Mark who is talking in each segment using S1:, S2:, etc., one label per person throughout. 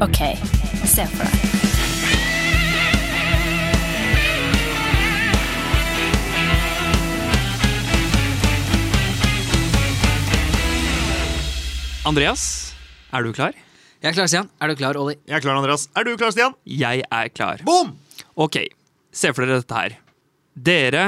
S1: OK, se for deg.
S2: Andreas, er du klar?
S3: Jeg er klar, Stian. Er du klar, Olli?
S4: Jeg er klar, Andreas. Er du klar, Stian?
S2: Jeg er klar.
S4: Boom!
S2: Ok, se for dere dette her. Dere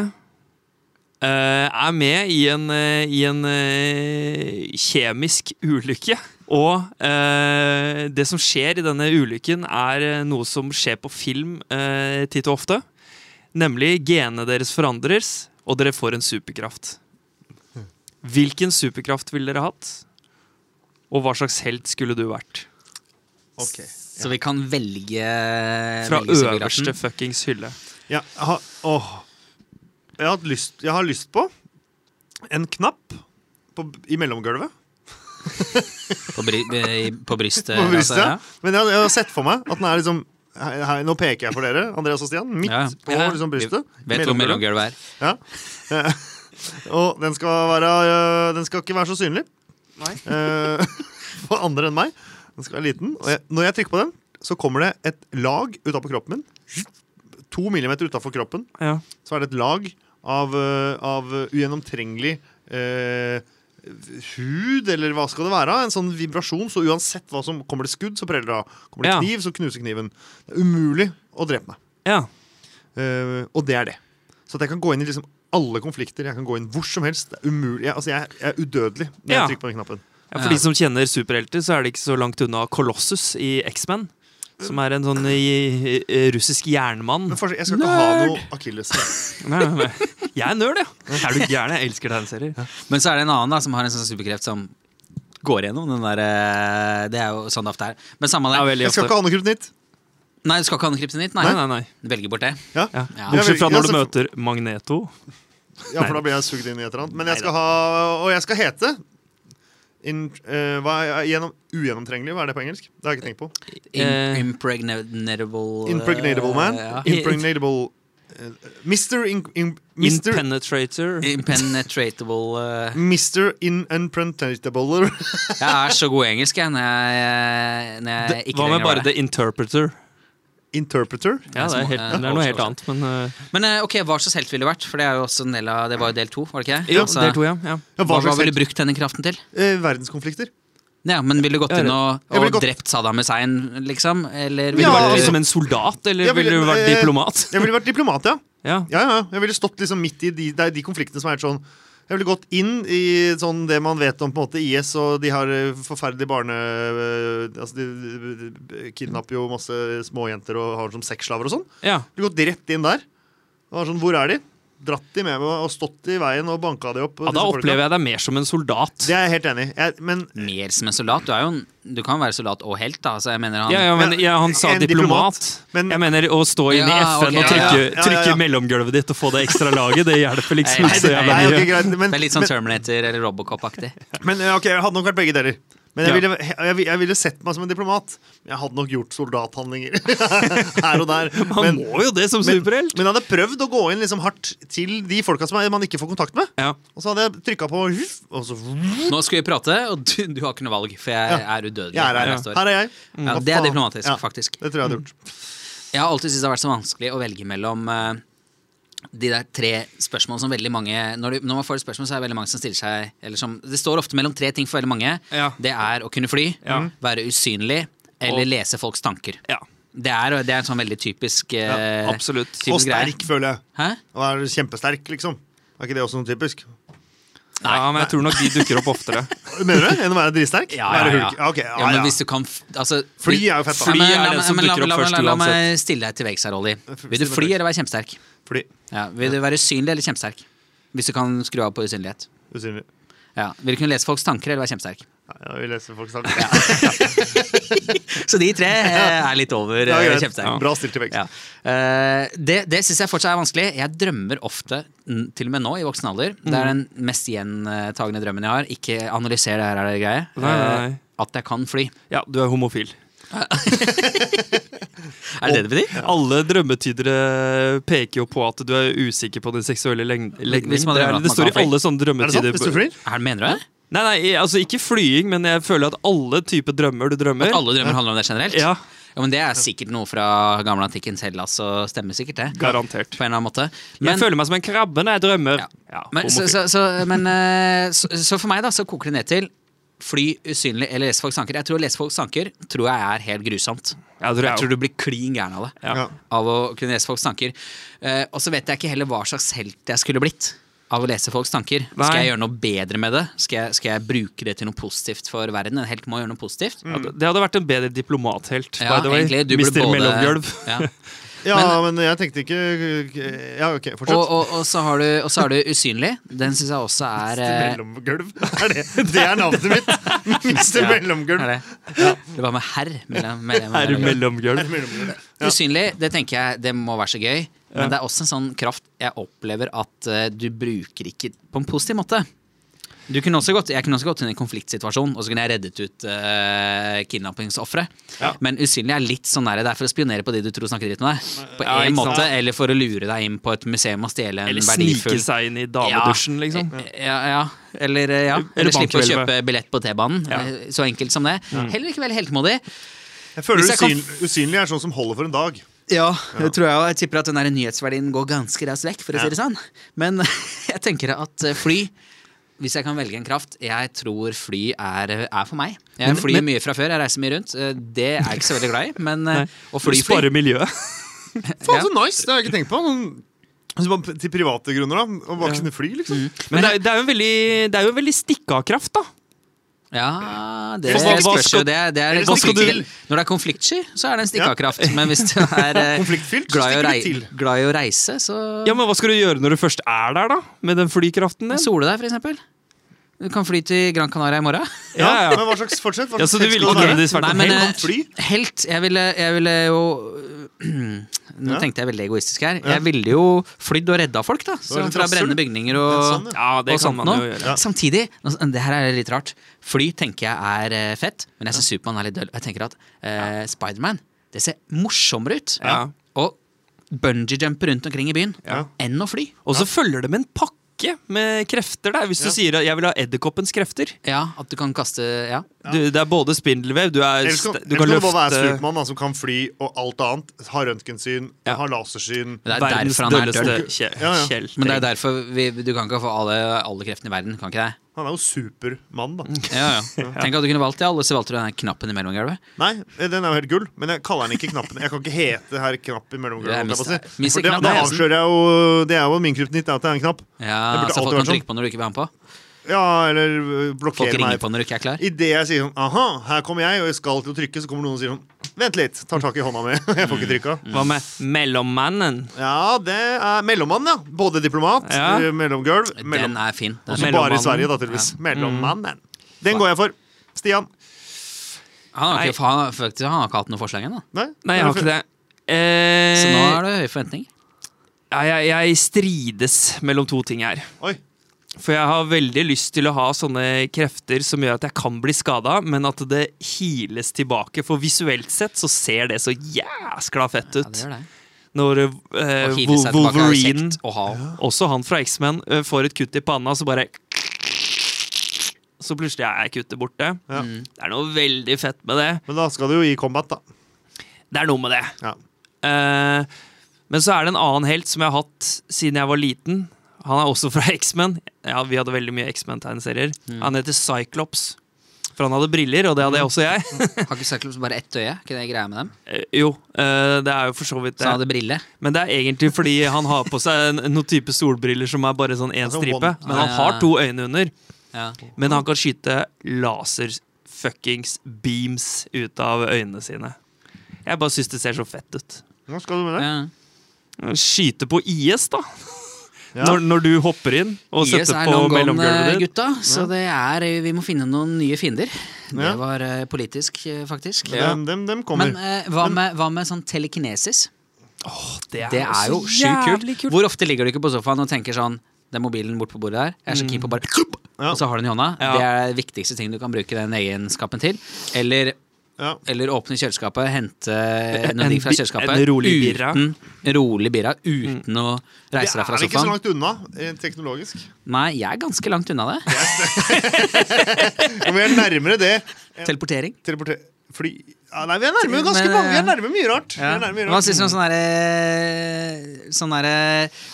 S2: eh, er med i en, eh, i en eh, kjemisk ulykke. Og eh, det som skjer i denne ulykken, er eh, noe som skjer på film eh, titt og ofte. Nemlig genene deres forandres, og dere får en superkraft. Hvilken superkraft ville dere hatt? Og hva slags helt skulle du vært?
S4: Ok.
S3: Så vi kan velge
S2: Fra
S3: velge superkraften.
S2: øverste fuckings hylle.
S4: Ja, jeg, har, åh. Jeg, har hatt lyst, jeg har lyst på en knapp på, i mellomgulvet.
S3: På, bry, i- på brystet.
S4: På brystet.
S3: altså,
S4: Men jeg, jeg har sett for meg at den er liksom her, her, Nå peker jeg for dere, Andreas og Stian. Midt
S3: Ja.
S4: på
S2: Ja.
S4: liksom, brystet.
S3: ja. Vet hvor
S4: Mellomgulvet.
S3: mellomgulvet er.
S4: Ja. og den skal, være, øh, den skal ikke være så synlig Eh, for andre enn meg. Den skal være liten. Og jeg, når jeg trykker på den, så kommer det et lag utapå kroppen min. To millimeter utafor kroppen
S2: Ja.
S4: så er det et lag av, øh, av ugjennomtrengelig øh, hud, eller hva skal det være? En sånn vibrasjon, så uansett hva som kommer det skudd, så preller det av. Kommer det
S2: Ja.
S4: kniv, så knuser kniven. Det er umulig å drepe meg.
S2: ja.
S4: Eh, og det er det. Så at jeg kan gå inn i liksom alle konflikter. Jeg kan gå inn hvor som helst. Det er umulig. Jeg, altså, jeg, jeg er udødelig når
S2: Ja.
S4: jeg trykker på den knappen.
S2: Ja,
S3: Ja.
S2: for de som kjenner superhelter, så er det ikke så langt unna Colossus i X-Men. Som er en sånn i, i, russisk jernmann.
S4: Men forskjell- jeg skal ikke ha noe akilles.
S2: Nei, nei, nei. Jeg er nerd, ja! Er du gæren? Jeg elsker tegneserier.
S3: Men så er det en annen da, som har en sånn superkreft som går gjennom den der eh, Det er jo sånn det ofte er. Men samme det.
S2: Ja, veldig
S4: Jeg skal ikke ha noe kryptonitt.
S3: Nei, du skal ikke ha noe kryptonitt? Nei.
S2: Nei, nei, nei.
S3: Velger bort det.
S4: Ja.
S2: Ja.
S3: Ja.
S2: Bortsett fra
S4: Ja,
S2: når du
S4: så-
S2: møter Magneto.
S4: ja, for da blir jeg sugd inn i et eller annet. Men jeg skal ha Og jeg skal hete in, eh, hva er, gjennom, Ugjennomtrengelig, hva er det på engelsk? Det har jeg ikke tenkt på.
S2: Eh.
S3: Im impregnable eh,
S4: Impregnable man.
S3: Ja.
S4: Impregnable eh, Mr. In, in, Mr.
S2: Impenetrator.
S3: Impenetratable eh.
S4: Mr. In Unprentatable
S3: Jeg er så god i engelsk, jeg, når jeg, når jeg ikke
S2: Hva med
S3: lenger var
S2: bare The Interpreter?
S4: Interpreter.
S2: Ja, det er, helt, det er noe helt annet, men uh,
S3: Men eh, ok, hva slags helt ville du vært? For det er jo også en del av Det var jo del to, var det ikke det?
S2: Jo,
S3: Altså,
S2: del to, ja. ja.
S4: Ja,
S3: Hva,
S4: hva slags
S3: ville
S4: helt-
S3: du brukt denne kraften til?
S4: eh, verdenskonflikter.
S3: Ja, men Ville du gått
S2: Ja,
S3: inn
S2: det-
S3: og,
S4: Jeg
S3: og
S4: ville gått-
S3: drept Saddam Hussein, liksom? Eller
S2: Ville du
S3: ville
S4: Ja,
S3: du
S2: vært
S3: vært
S4: altså-
S2: liksom en soldat, eller
S4: Jeg ville-
S2: ville du vært
S4: eh,
S2: diplomat?
S4: Jeg ville vært diplomat, ja.
S2: Ja.
S4: Ja, ja, ja. Jeg ville stått liksom midt i de, det er de konfliktene som er helt sånn Jeg ville gått inn i sånn det man vet om på en måte IS, og de har eh, forferdelige barne... eh, Altså, de, de, de, de kidnapper jo masse småjenter og har dem som sexslaver og sånn.
S2: ja.
S4: Jeg ville gått rett inn der. Og var sånn, Hvor er de? Dratt de med meg og stått i veien og banka de opp.
S2: ja, Da opplever jeg deg mer som en soldat.
S4: Det er jeg helt enig i. Jeg- Men
S3: mer som en soldat? Du, er jo en, du kan være soldat og helt, da. Altså, jeg mener han
S2: Ja, ja, men
S4: Men-
S2: ja, han sa
S4: en
S2: diplomat.
S4: diplomat, men-
S2: jeg mener å stå inn i
S3: Ja,
S2: FN
S3: ok,
S2: og
S3: ja,
S2: trykke,
S4: ja, ja, ja,
S2: trykke
S4: ja.
S2: mellomgulvet ditt og få det ekstra laget, det hjelper liksom
S3: Nei,
S2: ikke så
S3: nei,
S2: jævla
S4: Nei, ok,
S2: mye.
S4: greit, men,
S3: Det er litt sånn
S4: men,
S3: Terminator eller Robocop-aktig.
S4: men eh, ok, jeg hadde nok vært begge deler. Men jeg,
S2: Ja.
S4: ville, jeg, jeg ville sett meg som en diplomat. Jeg hadde nok gjort soldathandlinger her og der.
S2: Han må jo det som superhelt!
S4: Men jeg hadde prøvd å gå inn liksom hardt til de folka som man ikke får kontakt med.
S2: Ja.
S4: Og så hadde jeg trykka på og så,
S3: Nå skal vi prate, og du, du har ikke noe valg, for jeg er udødelig.
S4: Jeg er her.
S3: jeg står.
S4: Her er jeg.
S3: Ja,
S4: Hva
S3: det er
S4: faen?
S3: diplomatisk,
S4: Ja,
S3: faktisk. Mm,
S4: Det tror jeg hadde gjort.
S3: Jeg har alltid syntes det har vært så vanskelig å velge mellom eh, de der tre spørsmål som veldig mange når, du, når man får et spørsmål, så er det veldig mange som stiller seg eller som, Det står ofte mellom tre ting for veldig mange.
S2: Ja.
S3: Det er å kunne fly,
S2: Ja.
S3: være usynlig eller
S2: Og-
S3: lese folks tanker.
S2: Ja,
S3: Det er, det er en sånn veldig typisk eh,
S2: absolutt.
S3: Typisk
S4: Og sterk, føler jeg.
S3: Hæ?
S4: Og er kjempesterk, liksom. Er ikke det også noe typisk?
S2: Ja, men jeg tror nok de dukker opp oftere.
S4: Mener du det? Enn å være dritsterk? Være hulk? ok,
S3: ja,
S4: ja,
S3: men
S4: ja.
S3: hvis du kan f- altså,
S4: Fly er jo fett, da.
S3: Fly
S2: Fly er
S3: er
S2: den som dukker opp først
S3: La meg
S2: uansett.
S3: stille deg til veggs her, Olli.
S4: Stille
S3: Vil du
S4: meg
S3: fly
S4: til
S3: eller være kjempesterk?
S4: Fordi
S3: Ja. Vil du være usynlig eller kjempesterk? Hvis du kan skru av på usynlighet.
S4: Usynlig.
S3: Ja. Vil du kunne lese folks tanker eller være kjempesterk?
S4: Ja, ja, vi leser folk sammen.
S3: Så de tre eh, er litt over
S4: Ja,
S3: eh,
S4: greit.
S3: kjempesterk.
S4: Bra stilt til veggs.
S3: Ja. Eh, Det, det syns jeg fortsatt er vanskelig. Jeg drømmer ofte, n- til og med nå i voksen alder Det er den mest gjentagende drømmen jeg har. Ikke analyser det her, er det greie.
S2: Nei, nei,
S3: eh,
S2: nei.
S3: At jeg kan fly.
S2: Ja, du er homofil.
S3: Er det det det betyr?
S2: Alle drømmetydere peker jo på at du er usikker på den seksuelle leng- legning.
S3: Hvis man
S2: Det, er-
S3: drømmer at
S2: det
S3: man
S2: står i
S3: kan fly.
S2: alle sånne
S4: Er det sant?
S2: drømmetyder.
S4: Hvis du flyr?
S3: Er, mener du det?
S2: Nei, nei, altså ikke flying, men jeg føler at alle typer drømmer du drømmer
S3: Alle drømmer handler om det generelt?
S2: Ja,
S3: Ja, men Det er sikkert noe fra gamle antikkens Hellas, og stemmer sikkert det.
S2: garantert.
S3: På en eller annen måte.
S2: jeg føler meg som en krabbe når jeg drømmer.
S3: Ja.
S2: Ja,
S3: Men, så,
S2: homofil.
S3: så, så, men eh, så, så for meg da, så koker det ned til fly usynlig eller lese folks tanker. Jeg tror å lese folks tanker tror jeg er helt grusomt.
S2: Ja, det tror jeg
S3: Jeg
S2: også.
S3: tror du blir klin gæren av det.
S2: Ja.
S4: Ja.
S3: Av å kunne lese folks tanker. Eh, og så vet jeg ikke heller hva slags helt jeg skulle blitt av å lese folks tanker. Skal
S2: Nei.
S3: jeg gjøre noe bedre med det? Skal jeg, skal jeg bruke det til noe positivt for verden? En helt må gjøre noe positivt.
S2: Ja, det- det hadde vært en bedre diplomathelt.
S3: Ja,
S2: Mm. by the way.
S3: egentlig, du burde
S2: Mister
S3: både-
S2: Mellomgulv.
S3: Ja.
S4: Ja, men jeg tenkte ikke Ja, ok,
S3: Og,
S4: fortsett.
S3: og, og, så har du, og så har du Usynlig. Den syns jeg også er eh,
S4: Mellomgulv. Er det, det er navnet mitt! Mister Mellomgulv.
S3: er det. det var med herr. Mellom, mellom,
S2: Er du
S3: mellom.
S2: mellomgulv?
S4: Mellomgulv.
S3: Usynlig, det tenker jeg det må være så gøy. Men det er også en sånn kraft jeg opplever at eh, du bruker ikke på en positiv måte. Du kunne også gått, jeg kunne også gått inn i en konfliktsituasjon, og så kunne jeg reddet ut uh, kidnappingsofre.
S2: Ja.
S3: Men usynlig er litt sånn der, det er for å spionere på de du tror snakker dritt med deg. På
S2: Ja,
S3: en
S2: ikke sant.
S3: måte, Eller for å lure deg inn på et museum og stjele en
S2: Eller
S3: verdifull Eh,
S2: snike seg inn i damedusjen, liksom.
S3: ja, ja. Eller, eh, ja.
S2: Eller
S3: Eller slippe å
S2: bankhvelvet.
S3: kjøpe billett på T-banen.
S2: Ja.
S3: Eh, Så enkelt som det. Heller ikke veldig heltemodig.
S4: Jeg føler
S3: Hvis jeg kan-
S4: usyn, usynlig er sånn som holder for en dag.
S3: Ja, det tror jeg også. Jeg tipper at den der nyhetsverdien går ganske raskt vekk, for å
S4: Ja.
S3: si det sånn. Men jeg tenker at eh, fly hvis jeg kan velge en kraft Jeg tror fly er, eh, er for meg. Jeg
S2: Men-
S3: flyr
S2: men-
S3: mye fra før, jeg reiser mye rundt. Eh, Det er jeg ikke så veldig glad i. Men
S2: Nei.
S3: eh, å fly, fly
S2: Spare miljøet.
S4: Faen,
S3: Ja.
S4: så nice! Det har jeg ikke tenkt på. Noen, altså, bare til private grunner, da. Å bare kunne fly, liksom.
S2: Men det er, det er jo en veldig, det er jo en veldig stikka-kraft, da.
S3: Ja, det
S2: Hva- hva
S3: spørs
S2: skal-
S3: jo. Det, er- det er
S4: Eller hva skal du-
S3: konfliktsky. Når det er konfliktsky, så er det en stikkeavkraft. Men hvis du er eh,
S4: Konfliktfylt, så
S3: glad i, å
S4: stikker
S3: rei
S4: du til.
S3: glad i å reise, så
S2: Ja, Men hva skal du gjøre når du først er der, da? Med den flykraften din?
S3: sole deg, for eksempel. Du kan fly til Gran Canaria i morgen.
S2: Ja, ja.
S4: Men hva slags fortsett? Hva
S2: Ja, så du
S4: slags
S2: vil
S4: skal
S2: ikke
S4: det være?
S2: nødvendigvis vært
S3: Nei,
S2: en
S3: men, eh,
S2: helt?
S4: Kan fly?
S3: Helt Jeg ville, jeg ville jo Nå
S4: Ja.
S3: tenkte jeg veldig egoistisk her.
S4: Ja.
S3: Jeg ville jo flydd og redda folk, da. Så
S4: litt
S3: fra
S4: rasshøl.
S3: brennende bygninger
S4: Det er
S3: og,
S4: sånn,
S2: Ja, det
S3: og
S2: kan
S3: sånt
S2: man jo
S3: noe.
S2: gjøre.
S3: Samtidig, nå- det her er litt rart. Fly tenker jeg er eh, fett, men jeg syns Supermann er litt døll. Jeg tenker at eh, Spiderman, det ser morsommere ut.
S2: Ja.
S3: Og bungee-jumpe rundt omkring i byen
S4: Ja.
S3: enn å fly.
S2: Og så følger det med en pakke med krefter der, hvis du sier at 'jeg vil ha edderkoppens krefter'.
S3: Ja, at du kan kaste Ja.
S2: Du, det er både spindelvev, du, er,
S4: Ellers kan,
S2: st- du
S4: ellers
S2: kan
S4: kan det bare være
S2: løfte
S4: Supermann da, som kan fly og alt annet. Ha røntgensyn,
S2: Ja.
S4: ha
S3: Men
S4: lasersyn.
S3: det er
S2: verdens
S3: derfor han er
S2: dølleste
S3: døll.
S2: Kje-
S4: Ja, ja.
S2: Kjell.
S3: Men det er derfor vi, du kan ikke få alle, alle kreftene i verden. Kan ikke det?
S4: Han er jo Supermann, da.
S3: Ja, ja. Tenk at du kunne valgt det, alle, så valgte du den her knappen i mellomgulvet.
S4: Nei, den er jo helt gull, men jeg kaller den ikke knappen. Jeg kan ikke hete herr Knapp i mellomgulvet.
S3: Det er
S4: holdt jeg på å si.
S3: Mr.
S4: For det-
S3: Knapp,
S4: Da
S3: det er
S4: avslører jeg jo Det er jo min kryptonitt, det er at det er en knapp. Det
S3: Ja, så
S4: burde alltid
S3: folk kan
S4: vært sånn.
S3: trykke på når du ikke vil ha den på.
S4: Ja, eller øh,
S3: Folk
S4: blokkerer
S3: ringer
S4: meg.
S3: på når du ikke er klar.
S4: Idet jeg sier sånn Aha, her kommer jeg, og jeg skal til å trykke, så kommer noen og sier sånn Vent litt. Tar tak i hånda mi. Jeg får ikke trykka.
S3: Mm.
S2: Hva med mellommannen?
S4: Ja, det er mellommann, ja. Både diplomat,
S2: Ja.
S4: øh, mellomgulv mellom,
S3: Den er altså fin. Den er
S4: Også
S3: fin.
S4: bare
S2: Mellommannen.
S4: i Sverige, da, tydeligvis.
S3: Mm.
S4: Mellommannen. Den går jeg for. Stian.
S3: Han har
S2: Nei.
S3: ikke, han, har- faktisk, han har ikke hatt noe forslag ennå.
S4: Nei,
S2: Nei, jeg har ikke det. Eh,
S3: Så nå er det høye forventninger.
S2: ja, jeg, jeg strides mellom to ting her.
S4: Oi.
S2: For jeg har veldig lyst til å ha sånne krefter som gjør at jeg kan bli skada, men at det hiles tilbake. For visuelt sett så ser det så jæskla fett
S3: Ja, det
S2: ut.
S3: gjør det.
S2: Når eh,
S3: Å
S2: Wo-
S3: hile seg tilbake er jo
S2: Wolverine,
S3: kjekt å ha.
S2: også han fra X-Men, eh, får et kutt i panna, så bare Så plutselig er kuttet borte.
S4: Ja.
S3: Mm.
S2: Det er noe veldig fett med det.
S4: Men da skal du jo i combat, da.
S2: Det er noe med det.
S4: Ja.
S2: Eh, men så er det en annen helt som jeg har hatt siden jeg var liten. Han er også fra X-Men. Ja, vi hadde veldig mye X-Men-tegneserier. Han heter Cyclops. For han hadde briller, og det hadde også jeg.
S3: Har ikke Cyclops bare ett øye? Ikke det greia med dem?
S2: Eh, jo, eh, det er jo for så vidt
S3: Så
S2: det.
S3: han hadde brille.
S2: Men det er egentlig fordi han har på seg en- noen type solbriller som er bare sånn én
S4: Altså,
S2: stripe.
S4: one-
S2: Men han
S3: Ja.
S2: har to øyne under.
S3: Ja.
S2: Men han kan skyte laser-fuckings beams ut av øynene sine. Jeg bare syns det ser så fett ut.
S4: Nå skal du med det.
S3: Ja.
S2: Skyte på IS, da.
S4: Ja.
S2: Når, når du hopper inn og
S3: IS
S2: setter
S3: er
S2: på
S3: long gone,
S2: mellomgulvet ditt.
S3: gutta. Så det er, eh, vi må finne noen nye fiender. Det
S4: Ja.
S3: var eh, politisk, eh, faktisk.
S4: Men Dem, dem, dem kommer.
S3: Men eh, hva, med, hva med sånn telekinesis? Det
S2: så
S3: er jo sjukt
S2: jævlig
S3: kult. Hvor ofte ligger du ikke på sofaen og tenker sånn Den mobilen bort på bordet der. Jeg er så keen på å bare Og så har du den i hånda.
S2: Mm. Ja.
S3: Det er det viktigste ting du kan bruke den egenskapen til. Eller
S4: Ja.
S3: Eller åpne kjøleskapet, hente noe
S2: en
S3: digg fra
S2: bi-
S3: kjøleskapet.
S2: en rolig birra. Mm.
S3: Uten, rolig birra, uten å
S4: Det
S3: reise deg fra
S4: er ikke så
S3: sofaen.
S4: langt unna eh, teknologisk.
S3: Nei, jeg er ganske langt unna det.
S4: Og vi er nærmere det.
S3: Teleportering.
S4: Teleporter... Fly... Ja, nei, vi er nærme ganske
S3: Men,
S4: mange. Vi
S3: ja.
S4: er nærme mye rart. Vi
S3: Ja.
S4: er nærme mye
S3: Hva
S4: rart.
S3: syns du om sånn derre Sånn derre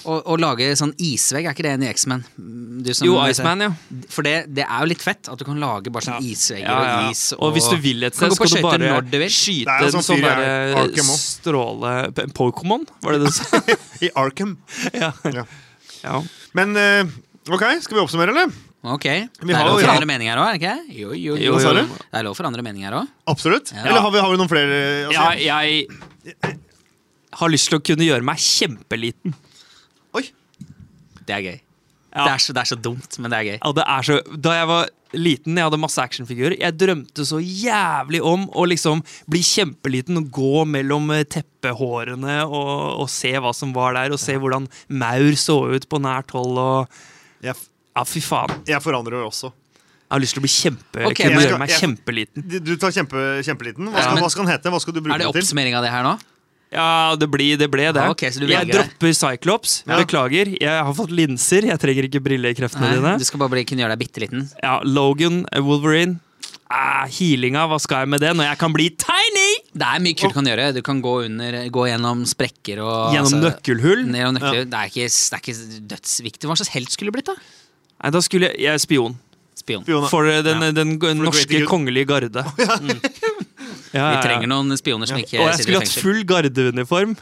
S3: å, å lage sånn isvegg, er ikke det en i X-Man? Du som-
S2: Jo, Iceman, ja.
S3: For det, det er jo litt fett at du kan lage bare sånn isvegger
S2: ja, ja.
S3: og is.
S2: Og hvis du vil et sted,
S3: Kan gå
S2: skal
S3: på
S2: du
S3: skøyter
S2: bare
S3: når du vil.
S2: skyte
S4: Det er jo
S2: en
S4: sånn
S2: sånn
S4: fyr i
S2: derre
S4: Arkham også.
S2: stråle en Pokémon, var det det du sa?
S4: I Arkham.
S2: ja.
S4: Ja.
S2: ja.
S4: Men eh, OK, skal vi oppsummere, eller?
S3: Ok.
S4: Vi
S3: det
S4: har
S3: er lov
S4: jo-
S3: for andre meninger òg, er det ikke? det? Jo, jo,
S2: Jo,
S3: jo.
S4: sa du?
S3: Det er lov for andre meninger òg.
S4: Absolutt.
S3: Ja.
S4: Eller har vi, har vi noen flere? Altså,
S2: Ja, jeg har lyst til å kunne gjøre meg kjempeliten.
S4: Oi.
S3: Det er gøy.
S2: Ja.
S3: Det, er så, det er så dumt, men det er gøy.
S2: Ja, det er så, da jeg var liten, jeg hadde masse actionfigurer. Jeg drømte så jævlig om å liksom bli kjempeliten og gå mellom eh, teppehårene og, og se hva som var der, og se hvordan maur så ut på nært hold. Og,
S4: Jeg, f-
S2: ja, fy faen.
S4: jeg forandrer jo også.
S2: Jeg har lyst til å bli kjempe,
S3: Ok,
S2: kunne
S4: jeg
S2: gjøre
S4: skal-
S2: meg
S4: jeg-
S2: kjempeliten.
S4: Du, du tar kjempe, kjempeliten. Hva
S3: Ja,
S4: skal,
S3: men-
S4: hva skal den hete? Hva skal du bruke
S3: Er det
S4: den til?
S3: oppsummering av det her nå?
S2: Ja, det, blir, det ble det.
S3: Ja, Ah, ok, så du
S2: jeg
S3: velger det.
S2: dropper Cyclops.
S4: Ja.
S2: Beklager, jeg har fått linser. Jeg trenger ikke brillekreftene dine.
S3: Nei, du skal bare bli, kunne gjøre deg bitte liten.
S2: Ja, Logan, eh, Wolverine. Ah, healinga, hva skal jeg med det når jeg kan bli tiny?
S3: Det er mye kult du kan gjøre. Du kan gå, under, gå gjennom sprekker og altså,
S2: Gjennom nøkkelhull? Nei,
S3: Gjennom nøkler. Det, er ikke, det er ikke dødsviktig. Hva slags helt skulle du blitt, da?
S2: da skulle jeg, jeg er spion.
S3: Spion.
S4: Fiona.
S2: For eh, den, den,
S4: the greater
S2: norske
S4: good.
S2: kongelige garde. Mm. Ja,
S3: Vi
S2: ja, ja.
S3: trenger noen spioner som ikke
S2: Og jeg
S3: sitter i
S2: skulle hatt
S3: fengsel.
S2: full gardeuniform.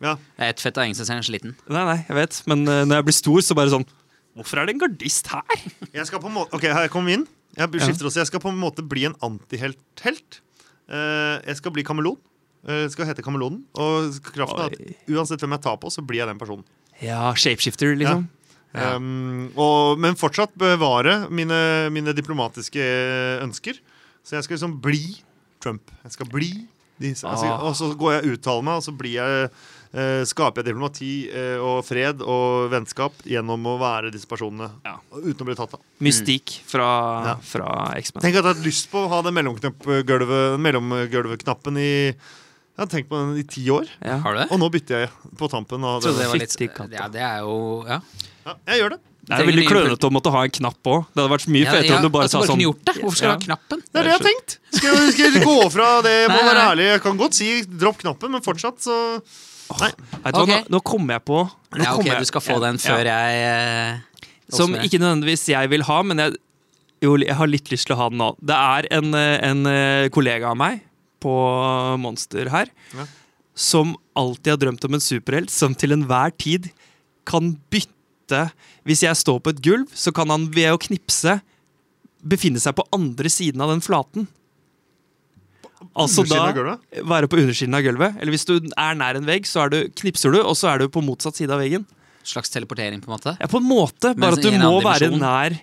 S4: Ja.
S3: Det er et fett av ingen som ser den så liten.
S2: Nei, nei, jeg vet, men eh, når jeg blir stor, så bare sånn Hvorfor er det en gardist her?
S4: Jeg skal på en måte Ok, her kom vi inn. Jeg skifter også. Jeg skal på en måte bli en antihelt-helt. Eh, jeg skal bli kameleon. Uh, skal hete Kamelonen. Og kraften er at uansett hvem jeg tar på, så blir jeg den personen.
S2: Ja, shapeshifter, liksom.
S3: Ja.
S4: Um, og, men fortsatt bevare mine, mine diplomatiske ønsker. Så jeg skal liksom bli Trump. Jeg skal bli disse. Jeg skal-
S2: Ah.
S4: Og så går jeg og uttaler meg, og så blir jeg eh, skaper jeg diplomati eh, og fred og vennskap gjennom å være disse personene.
S2: Ja.
S4: Uten å bli tatt av.
S2: Mystikk fra,
S4: Ja.
S2: fra X-Men.
S4: Tenk at jeg har hatt lyst på å ha den mellomgulvet- mellomgulvknappen i jeg har tenkt på den i ti år,
S2: Ja.
S3: Har du det?
S4: og nå bytter jeg på tampen. Av
S3: Trodde
S4: det.
S3: det var litt,
S2: Fytti katta.
S3: ja, det er jo ja.
S4: Ja, jeg gjør det.
S2: Det er veldig klønete å måtte ha en knapp òg. Det hadde vært mye
S3: Ja,
S2: fetere
S3: ja,
S2: om du bare
S3: altså,
S2: sa sånn
S3: kunne gjort det. Hvorfor skal du
S2: Ja.
S3: ha knappen?
S4: Det er det jeg har tenkt. Skal jeg, skal jeg gå fra det? Jeg må
S3: Nei, nei,
S4: være
S3: nei.
S4: ærlig. Jeg kan godt si dropp knappen, men fortsatt så Nei.
S2: Vet du hva,
S3: Ok.
S2: nå, nå kommer jeg på nå
S3: Ja, ok,
S2: kommer jeg-
S3: du skal få
S2: Ja,
S3: den før jeg eh,
S2: Som
S3: oppsummerer.
S2: ikke nødvendigvis jeg vil ha, men jeg, jo, jeg har litt lyst til å ha den nå. Det er en, eh, en eh, kollega av meg på Monster her
S4: Ja.
S2: som alltid har drømt om en superhelt som til enhver tid kan bytte Hvis jeg står på et gulv, så kan han ved å knipse befinne seg på andre siden av den flaten. Altså
S4: Undersiden
S2: da
S4: av gulvet?
S2: være på undersiden av gulvet. Eller hvis du er nær en vegg, så er du, knipser du, og så er du på motsatt side av veggen.
S3: Slags teleportering, på en måte?
S2: Ja, på en måte, bare at
S3: Men
S4: altså,
S2: du
S3: i en
S2: må
S3: annen
S2: være
S3: dimensjon.
S2: nær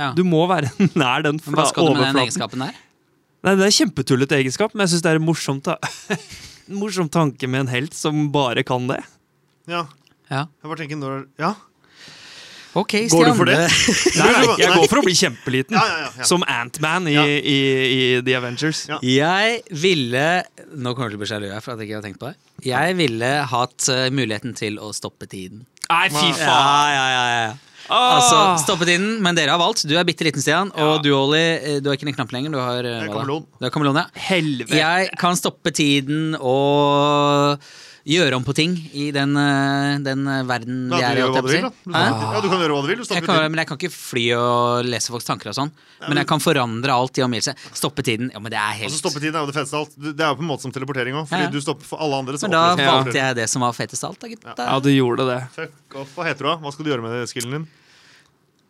S3: Ja.
S2: Du må være nær den
S3: Men hva
S2: fra
S3: skal du med den
S2: overflaten.
S3: egenskapen der?
S2: Nei, det er kjempetullete egenskap, men jeg syns det er en morsom, ta en morsom tanke med en helt som bare kan det.
S4: Ja.
S3: Ja.
S4: Jeg bare tenker når Ja.
S3: Ok, Stian.
S4: Går du for det?
S2: Nei, nei, jeg går for å bli kjempeliten,
S4: Ja, ja, ja, ja.
S2: som Antman i,
S4: Ja.
S2: i, i The Avengers.
S4: Ja.
S3: Jeg ville Nå kommer du til å bli sjalu her, for at jeg ikke har tenkt på det. Jeg ville hatt eh, muligheten til å stoppe tiden.
S2: Nei, fy
S4: Ja.
S2: faen!
S3: ja, ja, ja. Altså,
S2: Ah!
S3: stoppe tiden, men dere har valgt. Du er bitte liten, Stian. Og du, Olli, eh, du har ikke en knapp lenger. Du har eh,
S4: Jeg er
S3: hva da?
S4: kameleon.
S3: Du er kameleon, ja.
S2: Helvete.
S3: Jeg kan stoppe tiden og gjøre om på ting i den, eh, den eh, verden vi
S4: Da, du
S3: er i.
S4: gjør hva
S3: holdt
S4: du vil,
S3: jeg
S4: da.
S3: på å si.
S4: Du,
S3: Hæ?
S4: ja, du kan gjøre hva du vil. Du
S3: Jeg
S4: stopper
S3: kan,
S4: tiden.
S3: men jeg kan ikke fly og lese folks tanker og sånn. Men jeg kan forandre alt i omgivelsene. Stoppe tiden. Ja, men det er helt
S4: Altså, stoppetiden er jo det feteste av alt. Du- Det er jo på en måte som teleportering òg. Fordi
S3: Ja, ja.
S4: du stopper for alle andre. så
S3: Men da
S4: åpner det seg
S3: valgte
S4: dører.
S3: jeg det som var fetest av alt, da, gutta.
S2: Ja, du gjorde det.
S4: Fuck off. Hva heter du, da? Hva skal du gjøre med det skillen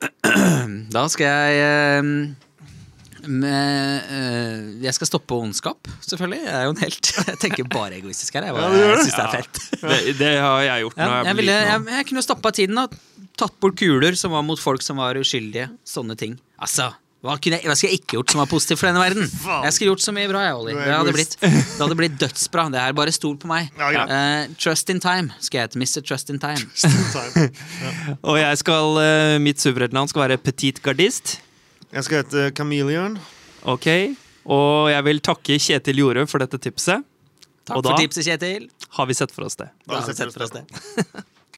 S4: din?
S3: Da skal jeg eh, med, eh, Jeg skal stoppe ondskap, selvfølgelig. Jeg er jo en helt. Jeg tenker bare egoistisk her. Jeg,
S4: Ja,
S3: bare-
S4: du
S3: jeg
S4: gjør det.
S3: syns det er fett.
S2: det. Det har jeg gjort
S3: Ja,
S2: når jeg
S3: jeg,
S2: ble
S3: ville, jeg,
S2: liten.
S3: jeg kunne stoppa tiden og tatt bort kuler som var mot folk som var uskyldige. Sånne ting. Altså, hva, kunne jeg, hva skulle jeg ikke gjort som var positivt for denne verden? Jeg skulle gjort så mye bra, jeg, Olli.
S4: Du er
S3: Det hadde blitt,
S4: egoist.
S3: det hadde blitt dødsbra. Det er bare stol på meg.
S4: Ja, greit.
S3: Eh, trust in time skal jeg hete. Mr. Trust in time.
S2: Og jeg skal, eh, mitt superheltnavn skal være Petit Gardist.
S4: Jeg skal hete Chameleon.
S2: Ok. Og jeg vil takke Kjetil Jorø for dette tipset.
S3: Takk
S2: Og
S3: for
S2: da-
S3: tipset, Kjetil.
S2: Har vi sett for oss det?
S4: Da har vi sett
S3: for oss det.